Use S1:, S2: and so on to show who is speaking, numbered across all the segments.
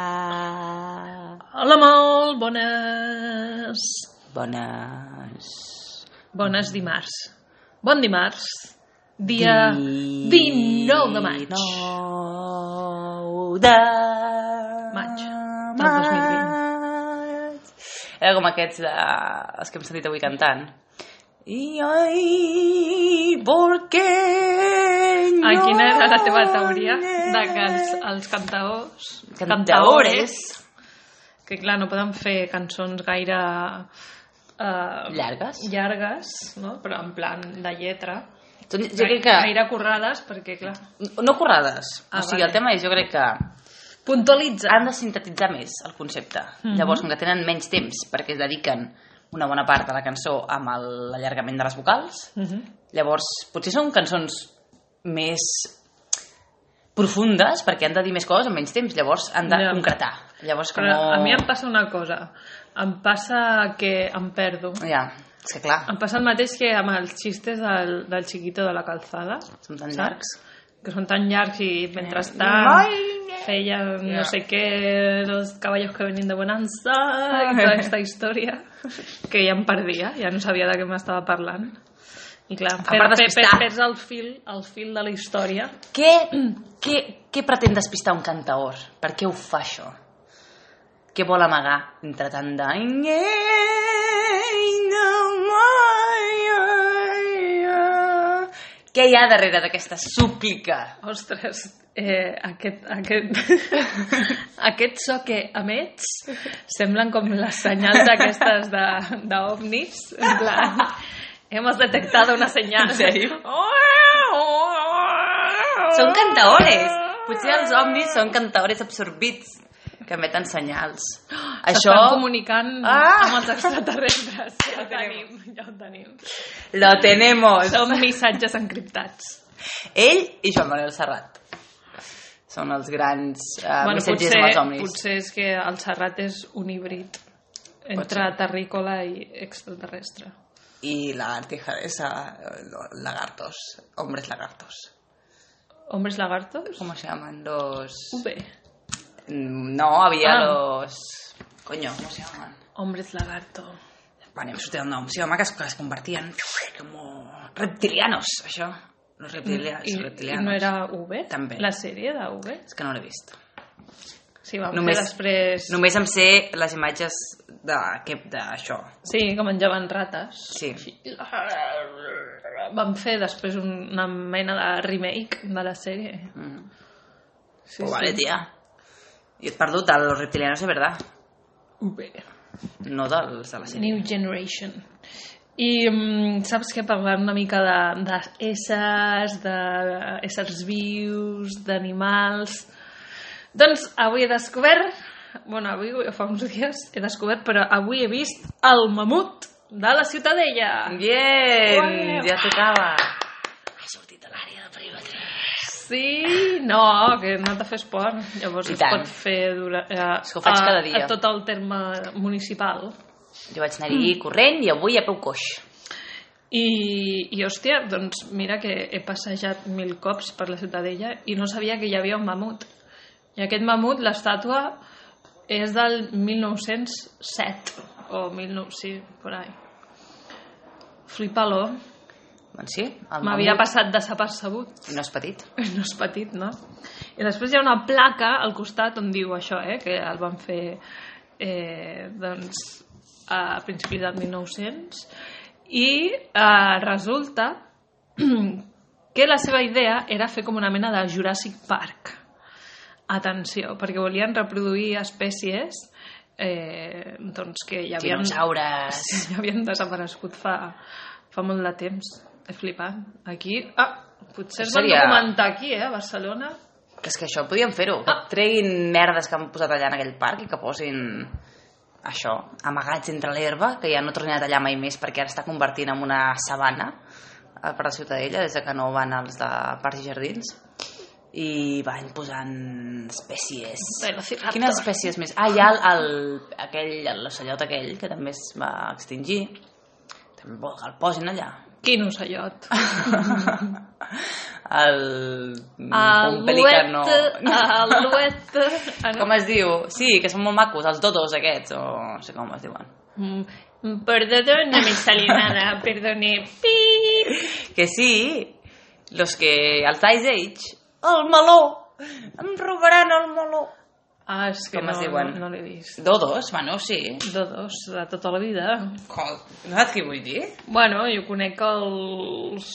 S1: Hola.
S2: Hola molt, bones.
S1: Bones.
S2: Bones dimarts. Bon dimarts. Dia 19 eh, de maig.
S1: 19 de
S2: Maig del
S1: maig. Era com
S2: eh,
S1: aquests de... els que hem sentit avui cantant. I ai, por qué no
S2: Ah, quina era la teva teoria de que els, els cantaors...
S1: Cantaores.
S2: Que clar, no poden fer cançons gaire... Eh,
S1: Llargues.
S2: llargues, no? però en plan de lletra.
S1: Són- Jo crec que...
S2: Gaire currades, perquè clar...
S1: No currades.
S2: Ah,
S1: o sigui,
S2: vale.
S1: el tema és, jo crec que
S2: Puntualitza. Mhm.
S1: han de sintetitzar més el concepte. Llavors, com que tenen menys temps perquè es dediquen una bona part de la cançó amb el- l'allargament de les vocals,
S2: Uh -huh.
S1: llavors potser són cançons més profundes perquè han de dir més coses en menys temps, llavors han de
S2: Ja.
S1: concretar. Llavors, com...
S2: Però a mi em passa una cosa. Em passa que em perdo.
S1: Ja, és que clar,
S2: Em passa el mateix que amb els xistes del, del xiquito de la calzada,
S1: són tan
S2: Saps?
S1: llargs. Eh.
S2: que són tan llargs i
S1: Ai,
S2: mentrestant feia no sé què, los caballos que venien de Bonanza, i tota aquesta història, que ja em perdia, ja no sabia de què m'estava parlant. I clar,
S1: A
S2: per,
S1: part
S2: per, per,
S1: despistar.
S2: perds el fil, el fil de la història.
S1: Què, què, què pretén despistar un cantaor? Per què ho fa això? Què vol amagar entre tant de... Què hi ha darrere d'aquesta súplica?
S2: Ostres, eh, aquest, aquest, aquest so que emets semblen com les senyals d'aquestes de- d'ovnis, en plan, hemos detectado una senyal.
S1: En sèrio? Són cantaores! Potser els omnis són cantaores absorbits que emeten senyals.
S2: Això...
S1: Això
S2: S'estan comunicant
S1: Ah!
S2: amb els extraterrestres. Ja ho
S1: tenim.
S2: tenim, ja ho tenim.
S1: lo tenemos.
S2: Són missatges encriptats.
S1: Ell i Joan Manuel Serrat. Són els grans eh, missatgers amb els omnis.
S2: potser és que el Serrat és un híbrid entre terrícola i extraterrestre.
S1: y la lagartija esa, los lagartos, hombres lagartos.
S2: ¿Hombres lagartos?
S1: ¿Cómo se llaman? Los...
S2: V.
S1: Mm, No, había
S2: Ah.
S1: los... Coño, ¿cómo se llaman?
S2: Hombres lagarto.
S1: Bueno, em sortia el nom. Sí, home, que es, que es convertien como reptilianos, això. Los reptilianos.
S2: I, I
S1: reptilianos.
S2: no era V?
S1: També.
S2: La sèrie de V?
S1: És que no l'he vist.
S2: Sí, vam
S1: Només-
S2: Només... fer després...
S1: Només em sé les imatges d'aquest- d'això.
S2: Sí, que menjaven rates.
S1: Sí.
S2: Vam fer després una mena de remake de la sèrie.
S1: Mm.
S2: Sí,
S1: Sí, pues vale, tia. Jo et perdut de los reptilianos de verdad,
S2: V.
S1: no dels de la sèrie.
S2: New Generation. I mm, saps que parlant una mica de, de éssers, de éssers vius, d'animals... Doncs avui he descobert... bueno, avui, fa uns dies he descobert, però avui he vist el mamut de la Ciutadella.
S1: Bien,
S2: Ué.
S1: ja tocava. Ha sortit de l'àrea de privatriu.
S2: Sí, no, que no te fes por. Llavors
S1: I
S2: es
S1: tant.
S2: pot fer dura, eh,
S1: que ho faig
S2: a,
S1: cada dia.
S2: a tot el terme municipal.
S1: Jo vaig anar-hi corrent i avui a peu coix.
S2: I, i hòstia, doncs mira que he passejat mil cops per la Ciutadella i no sabia que hi havia un mamut. I aquest mamut, l'estàtua, és del 1907 o 19... sí, por ahí. Flipalo.
S1: Doncs sí, el
S2: M'havia
S1: mamut
S2: passat desapercebut.
S1: no és petit.
S2: No és petit, no? I després hi ha una placa al costat on diu això, eh? Que el van fer, eh, doncs, a principis del 1900. I eh, resulta que la seva idea era fer com una mena de Jurassic Park. Atenció, perquè volien reproduir espècies eh, doncs que hi havia
S1: Dinosaures.
S2: ja havien desaparegut fa, fa molt de temps. És flipant. Aquí... Ah, potser es van
S1: Seria-
S2: documentar aquí, eh, a Barcelona.
S1: Que és que això podien fer-ho. Que
S2: Ah.
S1: treguin merdes que han posat allà en aquell parc i que posin això, amagats entre l'herba, que ja no tornin a tallar mai més perquè ara està convertint en una sabana eh, per la Ciutadella, des de que no van els de Parcs i Jardins. I van posant espècies.
S2: Velociraptor.
S1: Quines espècies més? Ah, hi ha el, el, aquell, l'ocellot aquell, que també es va extingir. També vol que el posin allà.
S2: Quin ocellot.
S1: el...
S2: El
S1: un pelicano...
S2: luet, el luet... Ah, no.
S1: Com es diu? Sí, que són molt macos, els dodos aquests, o no sé com es diuen.
S2: Mm, Perdona, me salí nada, perdone. Pip.
S1: Que sí, los que... Els Ice Age, el meló! Em robaran el meló!
S2: Ah, és que
S1: Com
S2: no,
S1: es diuen?
S2: no, no l'he vist.
S1: Dodos, bueno, sí.
S2: Dodos, de tota la vida.
S1: Col, no saps què vull dir?
S2: Bueno, jo conec els...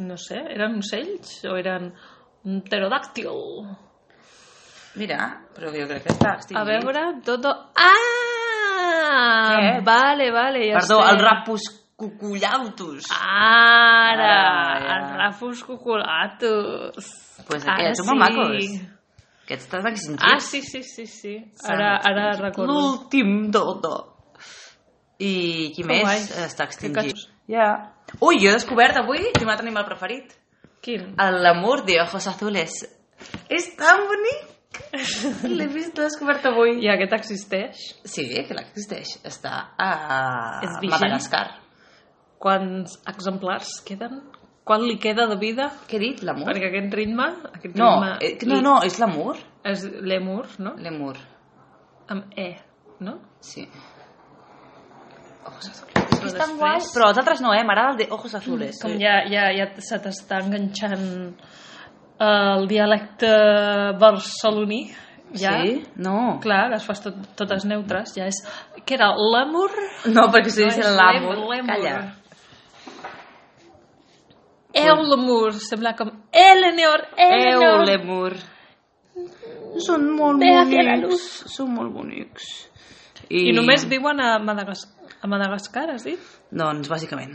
S2: No sé, eren ocells o eren un pterodàctil?
S1: Mira, però jo crec que està.
S2: A veure, Dodo... Ah!
S1: Què?
S2: Vale, vale, ja
S1: Perdó,
S2: sé.
S1: el rapus cucullautus.
S2: Ara,
S1: Ara, Ah, ja.
S2: els rafus cuculatus.
S1: Pues
S2: Ara
S1: aquests són molt macos. Aquests estan extingits.
S2: Ah, sí, sí, sí, sí. Ara, ara recordo.
S1: L'últim dodo. I qui
S2: Que
S1: més
S2: guai.
S1: està
S2: Que
S1: extingit?
S2: cachos.
S1: Ja. Ui, jo he descobert avui quin m'ha animal preferit.
S2: Quin?
S1: El l'amor de ojos azules. És tan bonic! L'he vist, l'he descobert avui.
S2: I aquest existeix?
S1: Sí, que l'existeix. Està a
S2: És vigent?
S1: Madagascar.
S2: Quants exemplars queden? Quant li queda de vida?
S1: Què he dit? L'amor?
S2: Perquè aquest ritme... Aquest
S1: No,
S2: ritme
S1: eh, no, no, és l'amor.
S2: És l'emur, no?
S1: L'amor,
S2: Amb E, no?
S1: sí. Ojos azules.
S2: Però
S1: És tan
S2: després-
S1: guai. Però els altres no, eh? M'agrada el de ojos azules.
S2: Com ja, ja, ja se t'està enganxant eh, el dialecte barceloní. Ja,
S1: Sí? No.
S2: Clar, les fas tot, totes neutres. Ja és... Què era? L'amor?
S1: No, perquè si
S2: No,
S1: dius
S2: és
S1: l'amor...
S2: l'em- l'emur.
S1: Calla.
S2: Eulemur. Sembla com... Eleanor, Eleanor.
S1: Eulemur. Són molt
S2: Ve hacia la
S1: Són molt bonics.
S2: I només viuen a, Madagas a Madagascar, has dit?
S1: Doncs, bàsicament.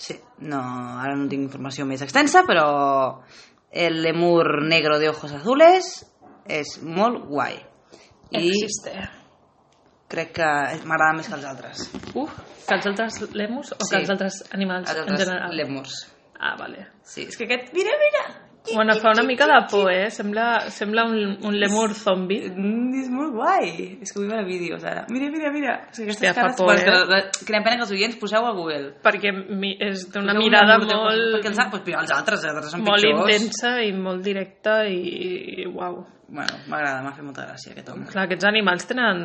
S1: Sí, no, ara no tinc informació més extensa, però el lemur negro de ojos azules és molt guai. I
S2: Existe.
S1: crec que m'agrada més que els altres.
S2: Uf, que els altres lemus o
S1: Sí.
S2: que els altres animals
S1: Els
S2: en
S1: altres
S2: general?
S1: lemurs.
S2: Ah, vale.
S1: Sí, és que aquest... Mira, mira!
S2: Bueno, fa una mica de por, eh? Sembla, sembla un, un lemur zombi.
S1: Mm, és molt guai. És que vull veure vídeos ara. Mira, mira, mira. És que aquestes
S2: Hòstia, fa
S1: cares...
S2: por,
S1: Bueno,
S2: eh?
S1: que, la- la- que pena que els oients poseu a Google.
S2: Perquè mi, és d'una
S1: Poseu
S2: mirada
S1: lemur de ojos-
S2: molt,
S1: Perquè els, al- pues, mira, els altres, els altres són
S2: molt
S1: pitjors.
S2: intensa i molt directa i, i uau.
S1: Bueno, m'agrada, m'ha fet molta gràcia aquest home.
S2: Clar, aquests animals tenen...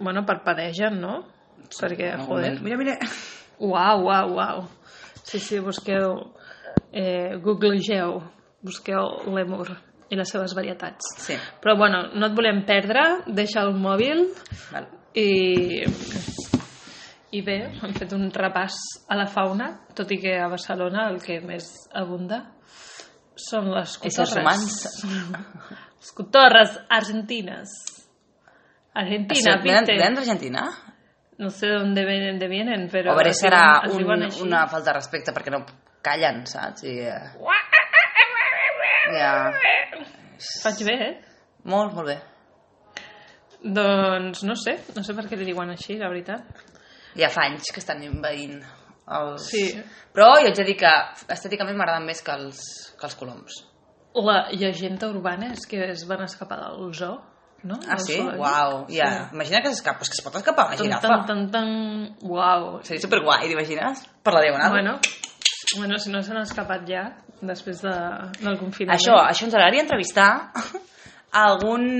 S2: Bueno, parpadegen, no? Perquè,
S1: En algun
S2: joder...
S1: moment. Mira, mira.
S2: Uau, uau, uau. Sí, sí, busqueu... Eh, googlegeu, busqueu l'emur i les seves varietats.
S1: Sí.
S2: Però, bueno, no et volem perdre, deixa el mòbil
S1: Val.
S2: i... I bé, hem fet un repàs a la fauna, tot i que a Barcelona el que més abunda són les
S1: Éssers
S2: cotorres.
S1: humans.
S2: Les cotorres argentines. Argentina,
S1: Això, Venen,
S2: viste?
S1: venen d'Argentina?
S2: No sé d'on vienen, de vienen, però...
S1: O bé
S2: es
S1: serà
S2: diuen- es
S1: un,
S2: diuen així.
S1: una falta de respecte perquè no callen, saps? I, eh, ja.
S2: Faig bé, eh?
S1: Molt, molt bé.
S2: Doncs no sé, no sé per què li diuen així, la veritat.
S1: Ja fa anys que estan invadint els...
S2: Sí.
S1: Però jo ets a dir que estèticament m'agraden més que els, que els coloms.
S2: La llegenda urbana és que es van escapar del zoo, no?
S1: Ah,
S2: Del eh?
S1: sí?
S2: zoològic.
S1: Uau, ja. Imagina que s'escapa. És que es pot escapar una
S2: Tan,
S1: girafa.
S2: tan, tan, tan... Uau.
S1: Seria superguai, t'imagines? Per la diagonal.
S2: Bueno, bueno, si no s'han escapat ja, després de, del confinament.
S1: Això, això ens agradaria entrevistar a algun...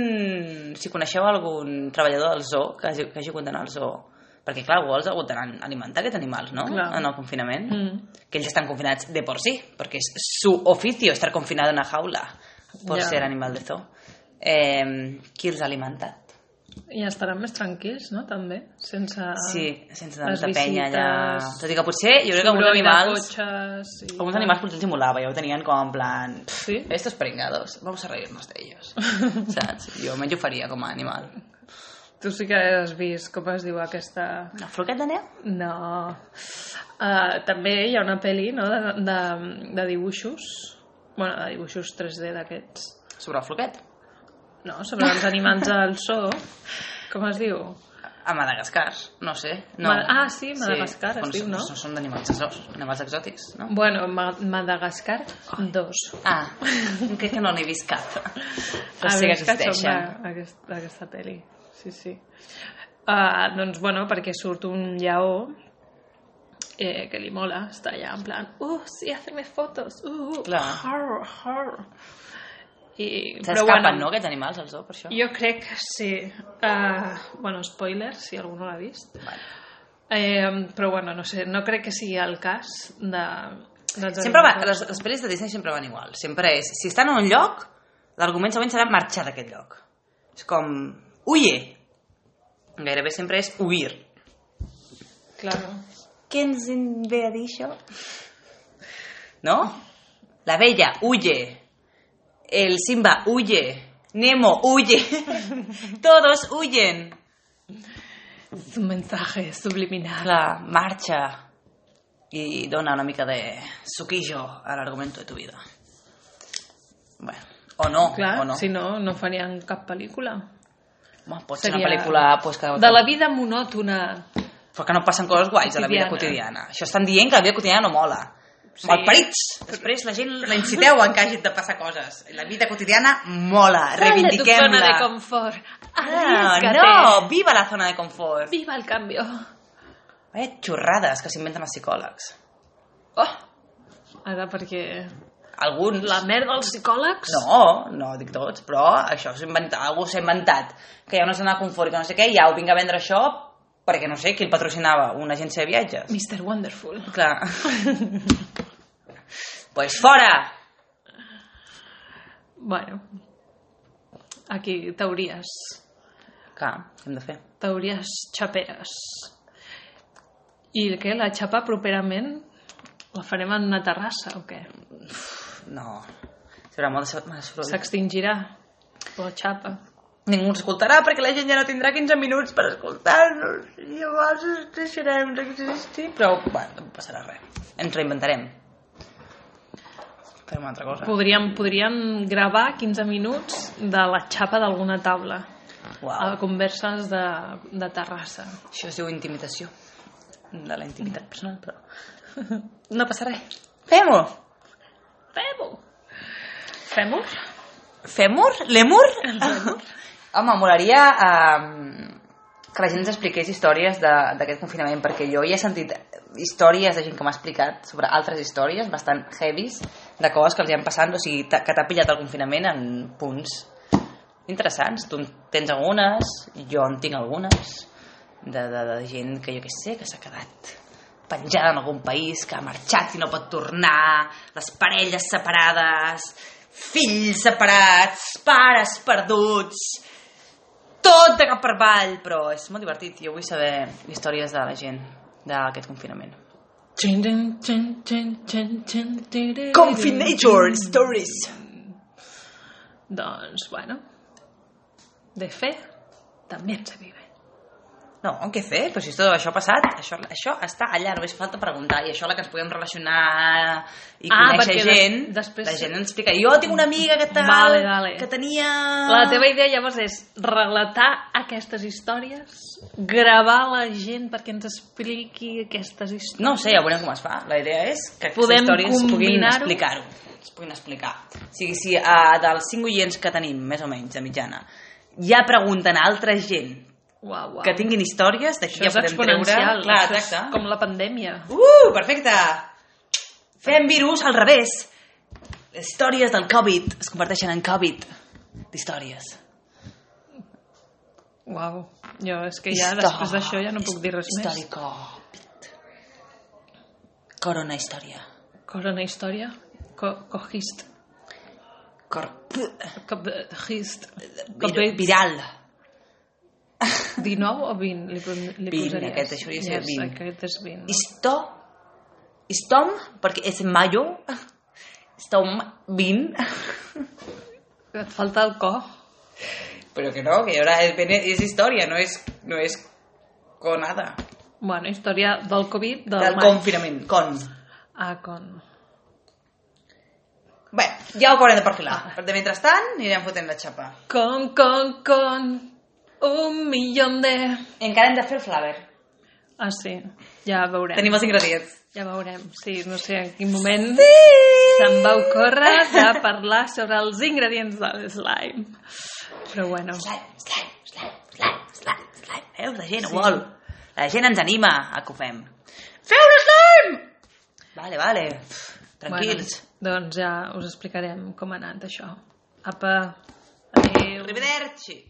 S1: Si coneixeu algun treballador del zoo que hagi, que hagi hagut d'anar al zoo. Perquè, clar, algú els ha hagut d'anar a alimentar aquests animals, no?
S2: Clar.
S1: En el confinament.
S2: Mm.
S1: Que ells estan confinats de por sí, perquè és su oficio estar confinado en una jaula por
S2: Ja.
S1: ser animal de zoo. Eh, qui els ha alimentat?
S2: I estaran més tranquils, no? També, sense...
S1: Sí, sense
S2: Ah, les
S1: tanta penya allà...
S2: visites,
S1: Tot i que potser, jo crec que alguns
S2: soroll de
S1: animals...
S2: Cotxes, i...
S1: Alguns animals potser els simulava, ja ho tenien com en plan...
S2: Sí?
S1: Estos pringados, vamos a reírnos de ellos. Saps? Jo me'n faria com a animal.
S2: Tu sí que has vist com es diu aquesta...
S1: Una floquet de neu?
S2: No. Uh, també hi ha una pel·li no, de, de, de dibuixos. bueno, de dibuixos 3D d'aquests.
S1: Sobre el floquet?
S2: No, sobre els animals del zoo. Com es diu?
S1: A Madagascar, no sé. No.
S2: Ma- ah, sí, Madagascar es
S1: Bueno,
S2: diu,
S1: són-
S2: no? Mm.
S1: Són, són d'animals exòtics, animals exòtics, no?
S2: Bueno, Ma Madagascar 2.
S1: Ah, crec que no n'he vist cap. Però
S2: A
S1: sí que
S2: veure, és que
S1: existeixen.
S2: sembla Aquesta, aquesta pel·li. Ah, Sí, sí. Uh, doncs, bueno, perquè surt un lleó eh, que li mola, està allà en plan, uh, sí, hacerme fotos, uh, uh,
S1: Clar.
S2: har, har. I, però
S1: S'escapen,
S2: bueno,
S1: no, aquests animals, els dos, per això?
S2: jo crec que sí. Uh, bueno, spoiler, si algú no l'ha vist.
S1: Vale.
S2: Eh, però bueno, no sé, no crec que sigui el cas de... dels
S1: Sempre va,
S2: animals.
S1: les, les pel·lis de Disney sempre van igual. Sempre és, si estan a un lloc, l'argument següent serà marxar d'aquest lloc. És com, huye. Gairebé sempre és huir.
S2: Claro.
S1: Què ens en ve a dir això? No? La vella, huye. El Simba, huye. Nemo, huye. Todos huyen.
S2: És un mensatge subliminal.
S1: Clar, marxa. I dona una mica de suquillo a l'argument de tu vida. Bueno, o no,
S2: Clar,
S1: o no.
S2: si no, no farien cap pel·lícula.
S1: Home, pot ser una pel·lícula pues, que,
S2: De la vida monòtona.
S1: però que no passen coses guais a la vida
S2: Quotidiana.
S1: quotidiana. Això estan dient que la vida quotidiana no mola.
S2: Sí.
S1: Sí. Malparits! Després la gent la inciteu en que hagin de passar coses. La vida quotidiana mola,
S2: Sal de tu
S1: reivindiquem-la.
S2: zona de confort.
S1: Ah,
S2: Arriscate.
S1: no, viva la zona de confort.
S2: Viva el Oh. cambio.
S1: Vaya xorrades que s'inventen els psicòlegs.
S2: Oh. Ara perquè...
S1: Alguns...
S2: La merda dels psicòlegs?
S1: No, no dic tots, però això s'ha inventat, algú s'ha inventat, que hi ha una zona de confort i que no sé què, i ja ho vinc a vendre això perquè no sé qui el patrocinava, una agència de viatges.
S2: Mr. Wonderful.
S1: Clar. pues fora!
S2: Bueno. Aquí, teories.
S1: Clar, què hem de fer?
S2: Teories xaperes. I el què? La xapa properament la farem en una terrassa o què?
S1: No. Serà molt de massa soroll.
S2: S'extingirà la xapa.
S1: Ningú ens escoltarà perquè la gent ja no tindrà 15 minuts per escoltar-nos. I llavors ens deixarem d'existir. Però, bueno, no passarà res. Ens reinventarem. Farem una altra cosa.
S2: Podríem, podríem gravar 15 minuts de la xapa d'alguna taula
S1: Uau.
S2: a converses de, de terrassa.
S1: Això es diu intimidació. De la intimitat personal, però... No passa res. Fem-ho!
S2: Fem-ho! Fem-ho?
S1: Fèmur? Lemur? Home, molaria eh, que la gent ens expliqués històries de- d'aquest confinament, perquè jo ja he sentit històries de gent que m'ha explicat sobre altres històries bastant heavies de coses que els hi han passat, o sigui, t'ha- que t'ha pillat el confinament en punts interessants. Tu en tens algunes, jo en tinc algunes, de, de, de gent que jo què sé, que s'ha quedat penjada en algun país, que ha marxat i no pot tornar, les parelles separades, fills separats, pares perduts, tot de cap per avall, però és molt divertit. Jo vull saber històries de la gent d'aquest confinament.
S2: Txin, txin, txin, txin, txin, txin, tiri.
S1: Confinator Stories!
S2: Doncs, bueno, de fer també en se vive.
S1: No, on què fer? Però si tot això ha passat, això, això està allà, només falta preguntar. I això la que ens podem relacionar i
S2: Ah,
S1: conèixer
S2: perquè des-
S1: gent,
S2: després-
S1: la gent ens explica. Jo tinc una amiga que, tal,
S2: Vale, vale.
S1: que tenia...
S2: La teva idea llavors és relatar aquestes històries, gravar la gent perquè ens expliqui aquestes històries.
S1: No ho sé, ja veurem com es fa. La idea és que
S2: Podem
S1: Podem històries puguin
S2: combinar-ho?
S1: explicar-ho. Es puguin explicar. O sigui, si uh, dels cinc oients que tenim, més o menys, de mitjana, ja pregunten a altra gent
S2: Uau, uau.
S1: que tinguin històries, d'aquí
S2: Això
S1: ja
S2: és
S1: podem treure...
S2: exponencial,
S1: Clar,
S2: això és
S1: exacte.
S2: com la pandèmia.
S1: Uh, perfecte! Fem virus al revés. Les històries del Covid es converteixen en Covid d'històries.
S2: Uau, jo és que ja després d'això ja no puc dir res més.
S1: Històric Covid. Corona història.
S2: Corona història, co cogist,
S1: Corp...
S2: cogist,
S1: Vir viral.
S2: 19 o 20 li, pon-
S1: 20,
S2: li posaries?
S1: aquest hauria de ser
S2: Yes,
S1: 20.
S2: Aquest és 20.
S1: Isto, istom, perquè és mayo, istom 20.
S2: Et falta el co.
S1: Però que no, que ara és, és història, no és, no és conada.
S2: Bueno, història del Covid, del,
S1: Del
S2: maig.
S1: confinament, con.
S2: Ah, con.
S1: Bé, ja ho haurem de perfilar. Però de mentrestant anirem fotent la xapa.
S2: Con, con, con, un milion de...
S1: Encara hem de fer el flaver.
S2: Ah, sí, ja veurem.
S1: Tenim els ingredients.
S2: Ja veurem, sí, no sé en quin moment sí! se'm va ocórrer de parlar sobre els ingredients de l'slime. Però bueno,
S1: Slime, slime, slime, slime, slime, slime. Veus? La gent ho vol. La gent ens anima a que ho fem.
S2: Feu l'slam!
S1: Vale, vale. Pff, Tranquils.
S2: Bueno, doncs ja us explicarem com ha anat això. Apa, adéu.
S1: Arrivederci.